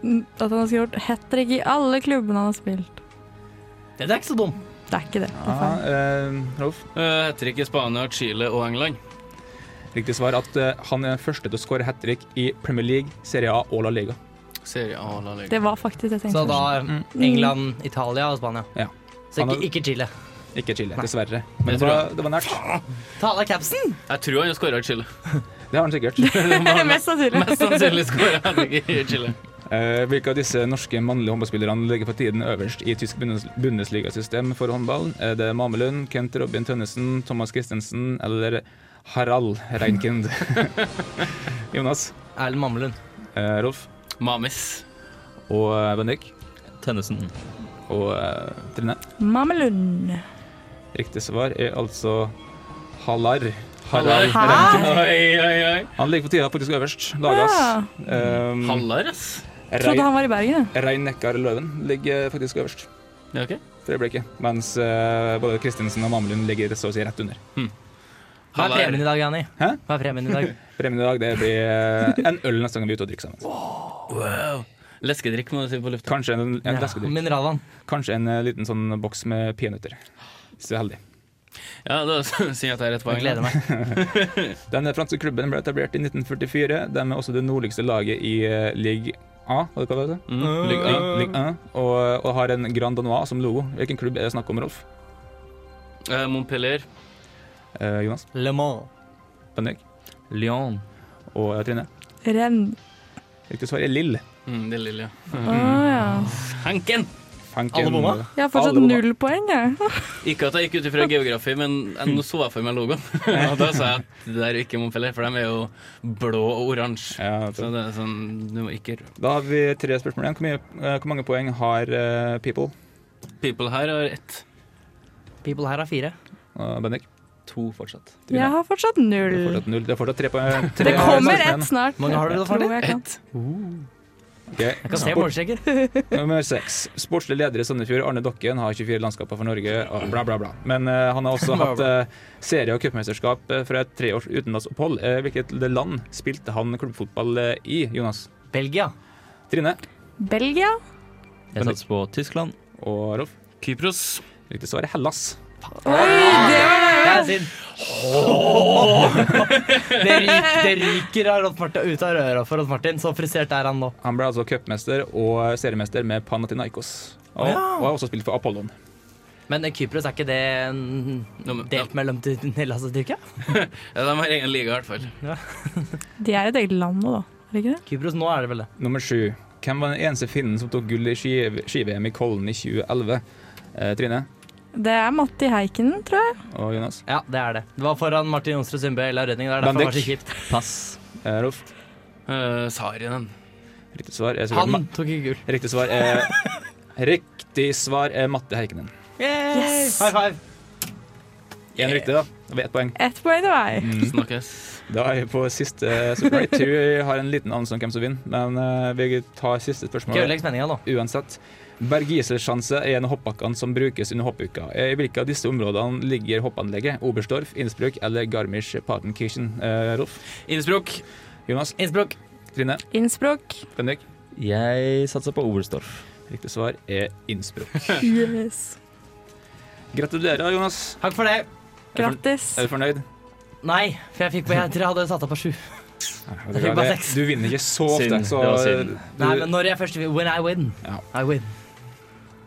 Mm, At han har skrevet hat trick i alle klubbene han har spilt.
Den er ikke så dum.
Det er ikke det. det er
Ja,
feil.
eh, Rolf?
Uh, Heter ikke Spania, Chile og England?
Riktig svar at eh, han er den første til å skåre hat trick i Premier League, Serie A og La Liga.
Serie A og La Liga.
Det var faktisk det jeg tenkte.
Så da eh,
først.
England, Italia og Spania.
Ja.
Så
Han har-
ikke, ikke Chile.
Ikke Chile,
Nei.
dessverre. Men
Det
det var, det var nært.
Ta av deg capsen!
Jeg tror han har skåra i Chile.
Det har han sikkert.
Mest sannsynlig.
Mest sannsynlig skåra han ikke i Chile.
Eh, hvilke av disse norske mannlige håndballspillerne ligger for tiden øverst i tysk bundes bundesligasystem for håndball? Er det Mamelund, Kent Robin Tønnesen, Thomas Christensen eller Harald Reinkind? Jonas,
Erlend Mammelund.
eh, Rolf
Mamis.
og eh, Bendik
Tønnesen.
og eh, Trine.
Mamelund.
Riktig svar er altså Halar.
Hallar.
Hæ?
Oi, oi, oi.
Han ligger for tida faktisk øverst. Lagas.
Ja.
Mm.
Um,
Hallar, ass.
Trodde han var i Bergen, jeg.
Rein Neckar Løven ligger faktisk øverst.
Ja, ok.
For øyeblikket. Mens eh, både Christensen og Mamelund ligger så å si rett under.
Hva er
Hallar.
premien i dag, Jani?
Hæ?
Hva er premien i dag?
Premien i dag det blir eh, en øl neste gang vi er ute og drikker sammen.
Wow. Leskedrikk må du si på lufta.
Kanskje en, en
Ja,
leskedrikk.
Mineralvann.
Kanskje en eh, liten sånn boks med peanøtter. Hvis du er heldig.
Ja, da sier jeg at det er et
Jeg
poeng.
gleder meg.
Den franske klubben ble etablert i 1944. De er også det nordligste laget i eh, Ligue A, har du kalt det?
Mm. Ligg an.
Ligue 1, og, og har en Grand Danois som logo. Hvilken klubb er det snakk om, Rolf?
Eh, Montpellier.
Eh, Jonas,
Le Mans.
Bendik
Lyon.
og eh, Trine.
Renn.
Riktig svar er Lill.
Mm, det er Lilja.
Å ja.
Hanken!
Fanken.
Alle bomma?
Jeg har fortsatt
Alle bomma.
null poeng, jeg.
Ikke at jeg gikk ut ifra geografi, men jeg- nå så jeg for meg logoen. Og da sa jeg at det der er ikke Montpellier, for de er jo blå og oransje.
Ja, vet du.
Så det er sånn, du må ikke
da har vi tre spørsmål igjen. Hvor, mye, eh, hvor mange poeng har eh, People?
People her har ett.
People her har fire.
Og Bendik?
To fortsatt.
Trine?
Jeg har fortsatt
Det er
null.
fortsatt null. Det er fortsatt tre poeng.
Det kommer ett snart.
Mange har du da, Farley?
Tror jeg kan.
Jeg kan se målstreker.
Nummer seks. Sportslig leder i Sandefjord, Arne Dokken, har 24 landskaper for Norge, og bla, bla, bla. Men eh, han har også
Bla,
hatt eh, serie- og cupmesterskap eh, fra et treårs utenlandsopphold. Eh, hvilket land spilte han klubbfotball eh, i, Jonas?
Belgia.
Trine
Belgia?
Jeg satser på Tyskland.
og Rolf?
Kypros.
Riktig svar er Hellas.
Det er synd. Det, ryk, det ryker av Rolf Martin, ut av røra for Rolf Martin. Så frisert er han nå.
Han ble altså cupmester og seriemester med Panathinaikos. Og, og har også spilt for Apollon.
Men eh, Kypros, er ikke det mm,
Nå, men- ja,
delt mellom Ty- Hellas og Tyrkia?
de har egen liga, i hvert fall.
De er et eget land nå, da. Er det ikke det?
Kypros, nå er det vel det.
Nummer sju. Hvem var den eneste finnen som tok gull i ski- ski-VM i Kollen i 2011? Eh, Trine
Det er Matti Heikinen, tror jeg.
og Jonas.
Ja, det er det. Det var foran Martin Jonsrud Sundbø Ella Rødning. Det er derfor det var så
Bendik.
kjipt.
Pass.
Eh, Rolf.
Eh, Sarinen.
Riktig svar er sikkert
Han tok ikke gull.
Riktig svar er Riktig svar er Matte Herkenen.
Yes!
High five.
Én riktig, da. Da har vi ett poeng. Mm,
Ett poeng til meg.
Snakkes.
Da er vi på siste spørsmål. Jeg tror jeg har en liten anelse om hvem som vinner, men eh, vi tar siste
Ikke
spørsmål
ødelegg spenninga nå.
uansett. Bergisersjanse er en av hoppbakkene som brukes under hoppuka. Eh, I hvilke av disse områdene ligger hoppanlegget? Oberstdorf, Innsbruck eller Garmisch-Partenkirchen? Eh, Rolf,
Innsbruck.
Jonas,
Innsbruck.
Trine,
Innsbruck.
Bendik.
Jeg satser på Oberstdorf.
Riktig svar er Innsbruck.
Yes.
Gratulerer, Jonas.
Takk for det.
Grattis.
Er du fornøyd?
Nei, for jeg fikk på jeg tror jeg hadde satt opp på sju. Jeg fikk bare seks.
Du vinner ikke så ofte,
Synd.
så
Det var synd.
du,
Nei, men når jeg først When I win.
Ja.
I win.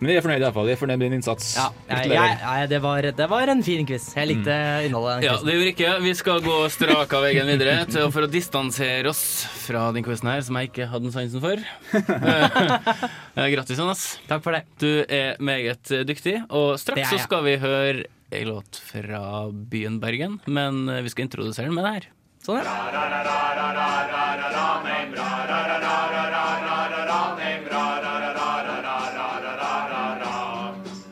men jeg er fornøyd iallfall. Jeg er fornøyd med din innsats.
Ja, jeg, jeg,
Gratulerer. Mm.
jeg, det, var, det var en fin quiz. Jeg likte innholdet. i
Ja,
den quizen.
det gjorde ikke. Vi skal gå straka veien videre til, for å distansere oss fra den quizen her, som jeg ikke hadde noe sansen for. Eh, Grattis, Jonas.
Takk for det.
Du er meget eh, dyktig, og
Det er
straks så
jeg.
skal vi høre en låt fra byen Bergen, men eh, vi skal introdusere den med det her.
Sånn, ja.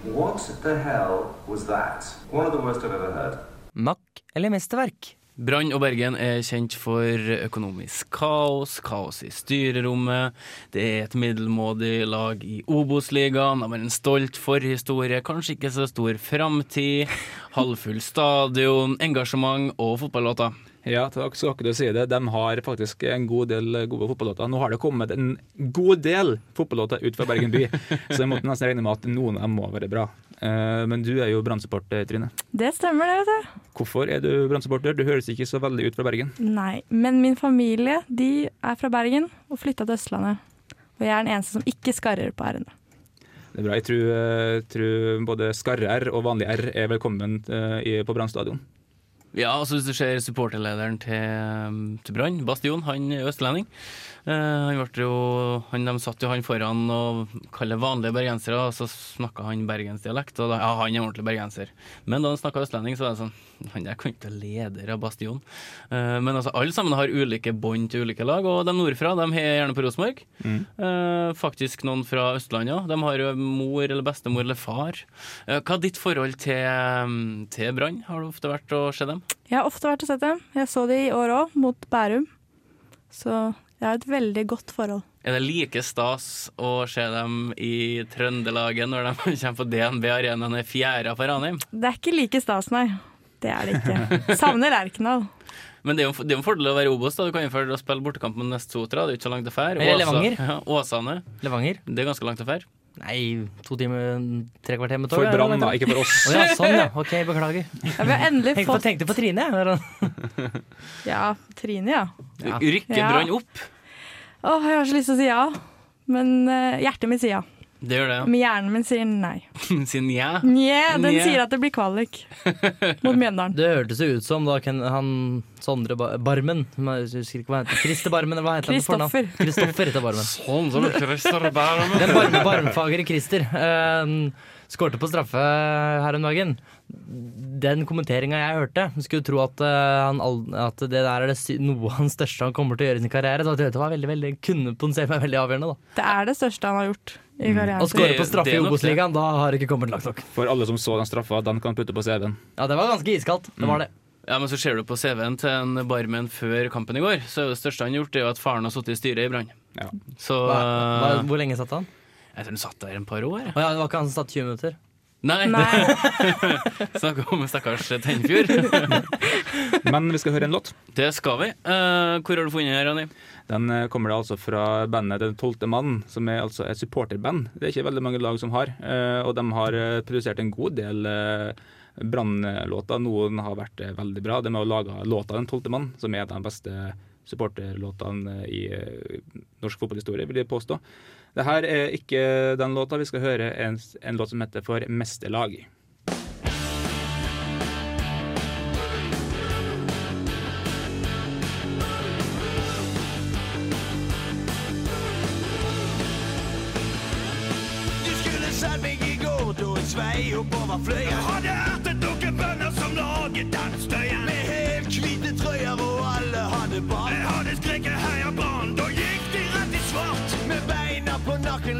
What the hell was that? One of the worst I've ever heard.
Makk eller mesterverk?
Brann og Bergen er kjent for økonomisk kaos, kaos i styrerommet. Det er et middelmådig lag i Obos-ligaen. Har en stolt forhistorie, kanskje ikke så stor framtid. Halvfull stadion, engasjement og fotballåter.
Ja, takk skal dere si det. De har faktisk en god del gode fotballåter. Nå har det kommet en god del fotballåter ut fra Bergen by, så jeg måtte nesten regne med at noen av dem må være bra. Eh, Men du er jo Brann-supporter, Trine.
Det stemmer, det. vet du.
Hvorfor er du Brann-supporter? Du høres ikke så veldig ut fra Bergen.
Nei. Men min familie de er fra Bergen og flytta til Østlandet. Og jeg er den eneste som ikke skarrer på r-ene.
Det er bra. Jeg tror, eh, tror både skarre-r og vanlig r er velkommen eh, i- på Brann stadion.
Ja, altså hvis du ser supporterlederen til, til Brann, Bastion, han er østlending. Eh, han ble jo, han, de satt jo han foran og kaller vanlige bergensere, og så snakka han bergensdialekt. Og da, ja, han er ordentlig bergenser. Men da han snakka østlending, så var det sånn Han der kan ikke være leder av Bastion. Eh, men altså, alle sammen har ulike bånd til ulike lag, og de nordfra de heier gjerne på Rosenborg. Eh, faktisk noen fra Østlandet òg. De har jo mor eller bestemor eller far. Eh, hva er ditt forhold til, til Brann? Har du ofte vært og sett dem?
Jeg har ofte vært og sett dem. Jeg så de i år òg, mot Bærum. Så jeg har et veldig godt forhold.
Er det like stas å se dem i Trøndelagen når de kommer på DNB Arena når fjæra på Ranheim?
Det er ikke like stas, nei. Det er det ikke. Savner Lerkendal.
Men det er jo det er jo en fordel å være i Obos. da Du kan jo fordel å spille bortekamp mot Nestsotra. Det er jo ikke så langt å fære.
Eller
Åsa-
Levanger.
Ja, Åsane.
Levanger?
Det er ganske langt å fære.
Nei, to timer, tre kvarter med tog?
For
eller
Brann,
noe
da, ikke for oss.
Å ja, sånn ja. Ok, beklager.
Ja, vi har endelig
Tenkte på,
fått
tenkte på Trine. jeg.
Ja, Trine, ja.
Ja.
Rykker
Ja.
Brann opp?
Åh, jeg har så lyst til å si ja. Men eh, hjertet mitt sier ja.
Det gjør det, ja.
Men hjernen min sier nei.
Siden jeg
Nje, den
Nje.
sier at det blir kvalik mot Mjøndalen.
Det hørtes jo ut som da kan han Sondre Ba- Barmen men jeg husker ikke hva han heter. Christer Barmen, eller hva heter han? på fornavn?
Kristoffer.
Kristoffer heter Barmen.
Sånn som Christer Bærum.
Den barme, barmfagre Christer eh, skårte på straffe her om dagen. Den kommenteringa jeg hørte, skulle tro at, eh, han, al- at det der er det sy- noe av det største han kommer til å gjøre i sin karriere. Så det var veldig, veldig, kunne potensielt være veldig avgjørende. da.
Det er det største han har gjort
Mm.
i
Å
karrieren sin.
skåre på straffe
det
i
er nok det.
Obos-ligaen, da har det ikke kommet langt nok.
For alle som så den straffa, den kan putte på CV-en.
Ja, det var ganske iskaldt. Det var det.
Ja, men så ser du på CV-en til en barmen før kampen i går, så er det største han har gjort, det er jo at faren har sittet i styret i Brann.
Ja.
Så
Hva, hva,
eh,
hvor lenge satt han?
Jeg tror han satt der en par år. jeg.
Å ja, det var ikke han som satt 20 minutter.
Nei,
Nei,
snakk om stakkars Tenfjord.
Men vi skal høre en låt.
Det skal vi. Eh, hvor har du funnet den, Ronny?
Den eh, kommer da altså fra bandet Den tolvte mann, som er altså et supporterband. Det er ikke veldig mange lag som har, eh, og de har eh, produsert en god del eh, Brann-låter. Noen har vært eh, veldig bra. De har laga låta Den tolvte mann, som er de beste supporterlåtene i eh, norsk fotballhistorie, vil jeg påstå. Det her er ikke den låta. Vi skal høre en, en låt som heter For mesterlag.
Du skulle sett meg i går da jeg svei oppover fløya. Hadde ertet noen bønder som laget den støyen. Med helt hvite trøyer og alle hadde bad. Jeg hadde skreket heia Brann, da gikk de rett i svart. Med beina på nakken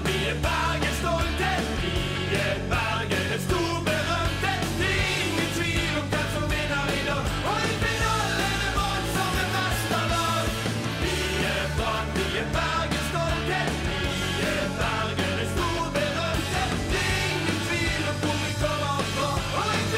vi er Bergen stolte. Vi er Bergen er storberømte. Det er ingen tvil om hvem som vinner i dag. Og i finalen er Brann som er mesterlag. Vi er Brann, vi er Bergen stolte. Vi er Bergen er storberømte. Det er ingen tvil om hvor vi kommer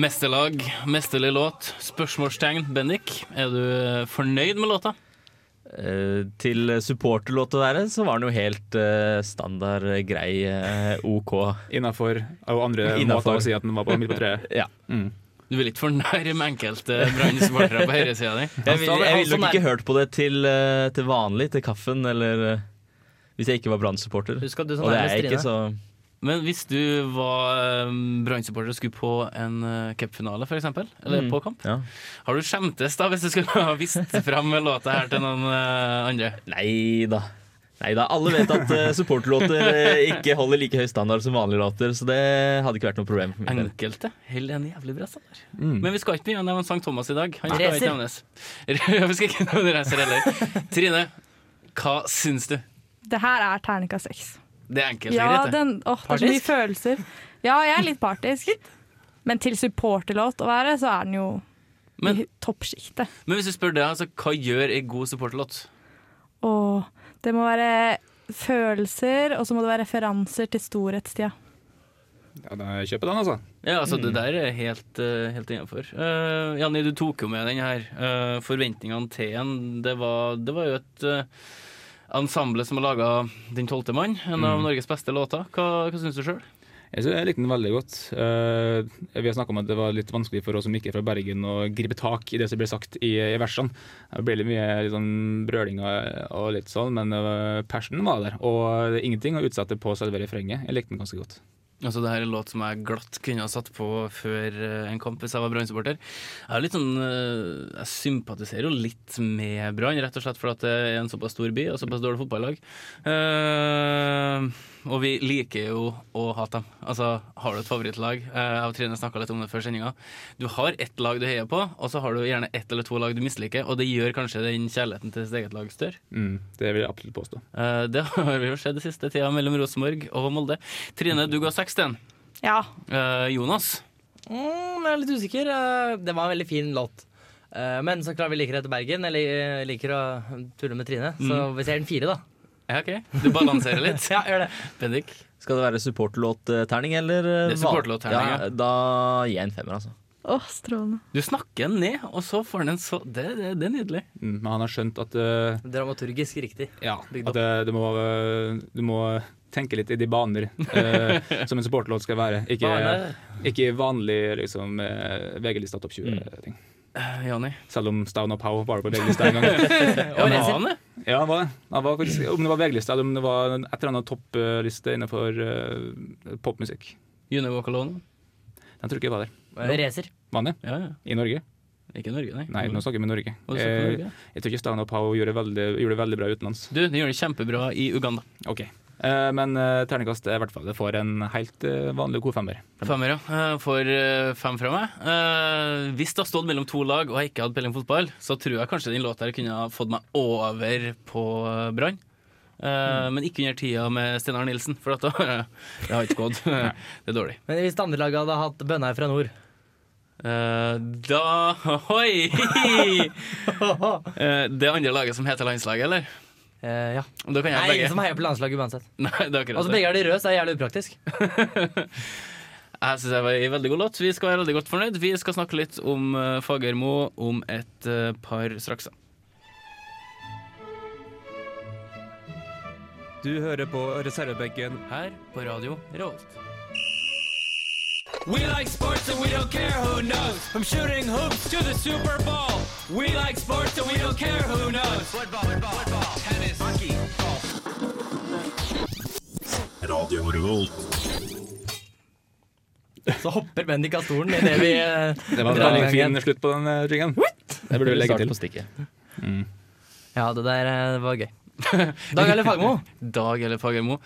Mesterlag, mesterlig låt. Spørsmålstegn. Bendik, er du eh, fornøyd med låta?
Eh, til supporterlåt å være, så var den jo helt eh, standard, eh, grei, eh, OK.
Innafor og andre
Innenfor.
måter å si at den var på midt på treet.
Ja.
Mm.
Du er litt for nærme enkelte Brann-supportere på herresida di.
Jeg ville
han
vil
som
nok
er-
ikke hørt på det til, eh, til vanlig, til kaffen, eller eh, hvis jeg ikke var Brann-supporter.
Husk at du som
Og det er
nærmest
jeg
Trine.
ikke, så
Men hvis du var eh, Brann-supporter og skulle på en eh, cupfinale, f.eks., eller
Mm.
på kamp,
ja.
har du skjemtes da hvis du skulle ha vist fram låta her til noen eh, andre?
Nei da. Nei da. Alle vet at eh, supporterlåter eh, ikke holder like høy standard som vanlige låter, så det hadde ikke vært noe problem for min del.
Enkelte holder en jævlig bra standard. Men vi skal ikke begynne å nevne Sankt Thomas i dag. Han skal
Racer.
ikke nevnes. vi skal ikke nevne racer heller. Trine, hva syns du?
Det her er terningkast seks.
Det er enkelt og
Ja,
greit, det.
den, åh, det er så mye følelser. Ja, jeg er litt partisk. Men til supporterlåt å være, så er den jo
Men,
i toppsjiktet.
men hvis du spør deg, altså, hva gjør ei god supporterlåt?
Og det må være følelser, og så må det være referanser til storhetstida.
Ja, da kjøper den, altså.
Ja, altså Det der er helt, eh, helt innenfor. Eh, Janni, du tok jo med den her. eh, forventningene til en. Det var, det var jo et eh, ensemble som har laga Din tolvte mann, en av Norges beste låter. Hva, hva syns du sjøl?
Jeg, synes jeg likte den veldig godt. Eh, vi har snakka om at det var litt vanskelig for oss som ikke er fra Bergen å gripe tak i det som ble sagt i, i versene. Det ble litt mye litt sånn brøling og, og litt sånn, men uh, persen var der. Og det er ingenting å utsette på selve refrenget. Jeg likte den ganske godt.
Altså, det her er en låt som jeg glatt kunne ha satt på før eh, en kamp hvis jeg var Brann-supporter. Jeg er litt sånn, eh, jeg sympatiserer jo litt med Brann, rett og slett fordi at det er en såpass stor by og såpass dårlig fotballag. Eh, og vi liker jo å hate dem. Altså, har du et favorittlag? Eh, jeg og Trine snakka litt om det før sendinga. Du har ett lag du heier på, og så har du gjerne ett eller to lag du misliker, og det gjør kanskje den kjærligheten til sitt eget lag større.
Mm, det vil jeg absolutt påstå.
Eh, det har vi jo sett den siste tida mellom Rosenborg og Molde. Trine, du ga seks til den.
Ja.
Eh, Jonas,
Mm, jeg er litt usikker. Eh, Det var en veldig fin låt. Eh, Men så klart vi liker å hete Bergen. Jeg li- liker å tulle med Trine. Så hvis jeg gir den fire, da.
Ja, ok. Du balanserer litt. ja, gjør det. Bendik.
Skal det være supporterlåtterning eller eh,
Det er
van-
supporterlåtterning, ja.
Ja, da gir jeg en femmer, altså.
Å, strålende.
Du snakker den ned, og så får den en så Det, det, det er nydelig.
Mm, men han har skjønt at, eh,
Dramaturgisk riktig.
ja,
Bygd
at eh, du, må, eh, du må tenke litt i de baner eh, som en supporterlåt skal være. Ikke,
Bane.
ikke vanlig liksom, eh, VG-lista topp 20-ting.
Eh, Jonny.
Selv om Stown og Pow var på VG-lista en gang.
Ja, men har han det?
Ja, han var det. Han var faktisk, om det var VG-lista eller om det var en- et eller annet toppliste innenfor eh, popmusikk.
You Know Walk Alone.
Den tror ikke jeg var der.
Eh, Racer.
Var den det?
Ja, ja.
I Norge?
Ikke Norge, nei.
Nei, nå snakker vi med Norge.
Hva er det som er
Eh,
Norge?
jeg tror ikke Stown og Pow gjorde, veldig- gjorde det veldig bra utenlands.
Du, den gjør det kjempebra i Uganda.
Ok. Eh, men eh, terningkast er i hvert fall det får en helt eh, vanlig god femmer.
Femmer, ja. Eh, For eh, fem fra meg. Eh, hvis det hadde stått mellom to lag, og jeg ikke hadde peiling på fotball, så tror jeg kanskje den låta her kunne ha fått meg over på eh, Brann. Eh, Men ikke under tida med Steinar Nilsen, for at da, det har ikke gått. det er dårlig.
Men hvis det andre laget hadde hatt Bønna fra nord
Eh, da Hoi! Eh, det andre laget som heter landslaget, eller?
Eh, Ja.
Da kan jeg
Nei, ingen som
begge.
heier på landslaget uansett.
Nei, det er akkurat
Altså
det.
Begge er de røde, så er det jævlig upraktisk.
Jeg syns det var en veldig god låt. Vi skal være veldig godt fornøyd. Vi skal snakke litt om eh, Fagermo om et eh, par straks.
Du hører på reservebenken.
Her på Radio Revolt.
We like sports and we don't care who knows. From shooting hoops to the Super Bowl. We like sports and we don't care who knows. Football, football, football, tennis, hockey, golf.
Så hopper Bendik av stolen idet vi eh,
Det var
drar
en
i
veldig
gang
fin
igjen.
slutt på den eh, jingen. Det burde vi legge
Start
til.
på stikket.
Ja, det der eh, var gøy. Dag Erle Fagmo.
Dag eller Fagermo.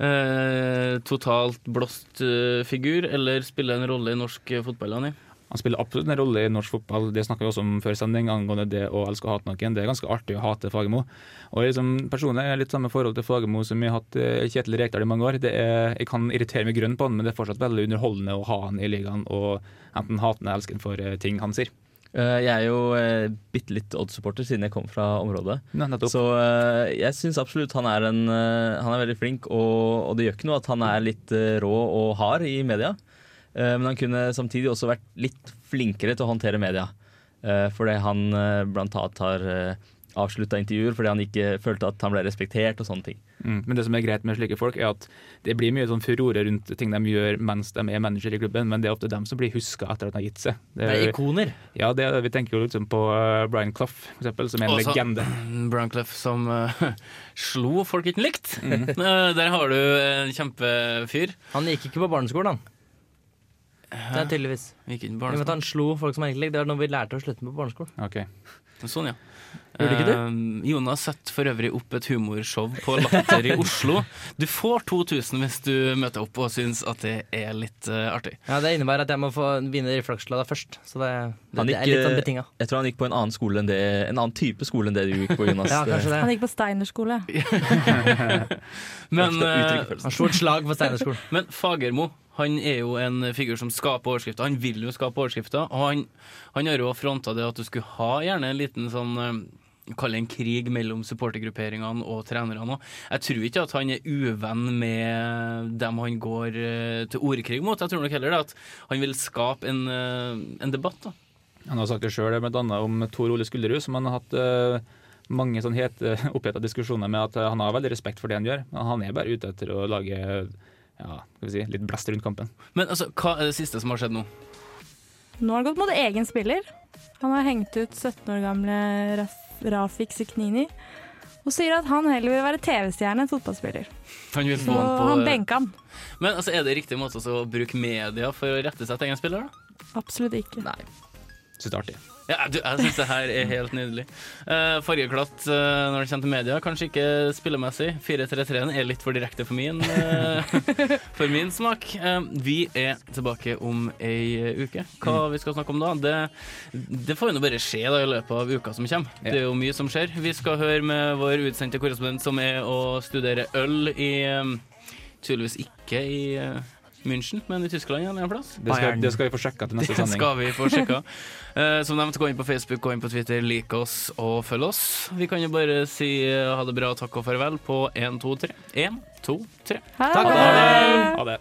Eh, totalt blåst eh, figur, eller spiller en rolle i norsk eh, fotball, Anni?
Han spiller absolutt en rolle i norsk fotball. Det snakka vi også om før sending, angående det å elske og hate noen. Det er ganske artig å hate Fagermo. Og jeg liksom, personlig er jeg litt samme forhold til Fagermo som jeg har hatt eh, Kjetil Rekdal i mange år. Det er, jeg kan irritere meg grønn på han, men det er fortsatt veldig underholdende å ha han i ligaen og enten hate han eller elske han for eh, ting han sier.
Eh, jeg er jo uh, bitte litt Odd-supporter siden jeg kom fra området.
Ja, nettopp.
Så eh, jeg syns absolutt han er, en, eh, han er veldig flink, og, og det gjør ikke noe at han er litt eh, rå og hard i media. Eh, Men han kunne samtidig også vært litt flinkere til å håndtere media. Eh, Fordi han eh, blant annet har avslutta intervjuer fordi han ikke følte at han ble respektert og sånne ting.
Mm. Men det som er greit med slike folk, er at det blir mye sånn furore rundt ting de gjør mens de er manager i klubben, men det er ofte dem som blir huska etter at de har gitt seg. Det
Det
er-
er ikoner.
ja, det er, vi tenker jo liksom på eh, Brian Clough, for eksempel, som er en
Og så-
legende.
Browncleff som eh, slo folk ikke likt.
Mhm.
Eh, der har du en kjempefyr.
Han gikk ikke på barneskolen, han. Det er tydeligvis.
Gikk inn
Men at
barneskolen.
han slo folk som egentlig Det er noe vi lærte å slutte med på barneskolen.
Ok.
Sånn, ja.
Gjorde ikke
Eh, Jonas setter for øvrig opp et humorshow på Latter i Oslo. Du får 2000 hvis du møter opp og syns at det er litt eh, artig.
Ja, Det innebærer at jeg må få vinne reflakslada først. Så det, det,
Han
det er
gikk,
litt sånn
eh,
betinga.
Jeg tror han gikk på en annen skole enn det, en annen type skole enn det du gikk på, Jonas.
Ja, kanskje det.
Han gikk på Steiner skole.
Men, eh,
Han slo et slag på Steinerskolen.
men Fagermo han er jo en figur som skaper overskrifter. Han vil jo skape overskrifter. Og han, han har jo fronta det at du skulle ha gjerne en liten sånn eh, Kall det en krig mellom supportergrupperingene og trenerne òg. Jeg tror ikke at han er uvenn med dem han går eh, til ordkrig mot. Jeg tror nok heller det at han vil skape en, eh, en debatt. da
Han har sagt det sjøl, bl.a. om Tor Ole Skulderud, som han har hatt eh, mange sånn hete, oppheta diskusjoner med at eh, han har veldig respekt for det han gjør, men han er bare ute etter å lage ja, skal vi si, litt blest rundt kampen.
Men altså, hva er det siste som har skjedd nå?
Nå har han gått mot egen spiller. Han har hengt ut 17 år gamle Raf- Rafik Siknini og sier at han heller vil være TV-stjerne enn fotballspiller.
Han vil få
Så
han på
han benka han.
Men altså, er det riktig måte også å bruke media for å rette seg til egen spiller, da?
Absolutt ikke.
Syns det er artig.
Ja, du, jeg syns det her er helt nydelig. Uh, Fargeklatt eh, når det kommer til media, kanskje ikke spillemessig. 4-3-3-en er litt for direkte for min, eh, for min smak. Eh, vi er tilbake om ei eh, uke. Hva vi skal snakke om da, det, det får jo nå bare skje da, i løpet av uka som kommer. Det er jo mye som skjer. Vi skal høre med vår utsendte korrespondent som er å studere øl i eh, Tydeligvis ikke i eh, München, men i Tyskland en eller annen plass.
Det skal,
Bayern.
det skal vi få sjekka til neste
Det
sending.
skal vi få sjekka. Eh, Som nevnt, gå inn på Facebook, gå inn på Twitter, like oss og følg oss. Vi kan jo bare si eh, ha det bra, takk og farvel på 1, 2, 3. 1, 2, 3.
Ha
Ha det! Ha det.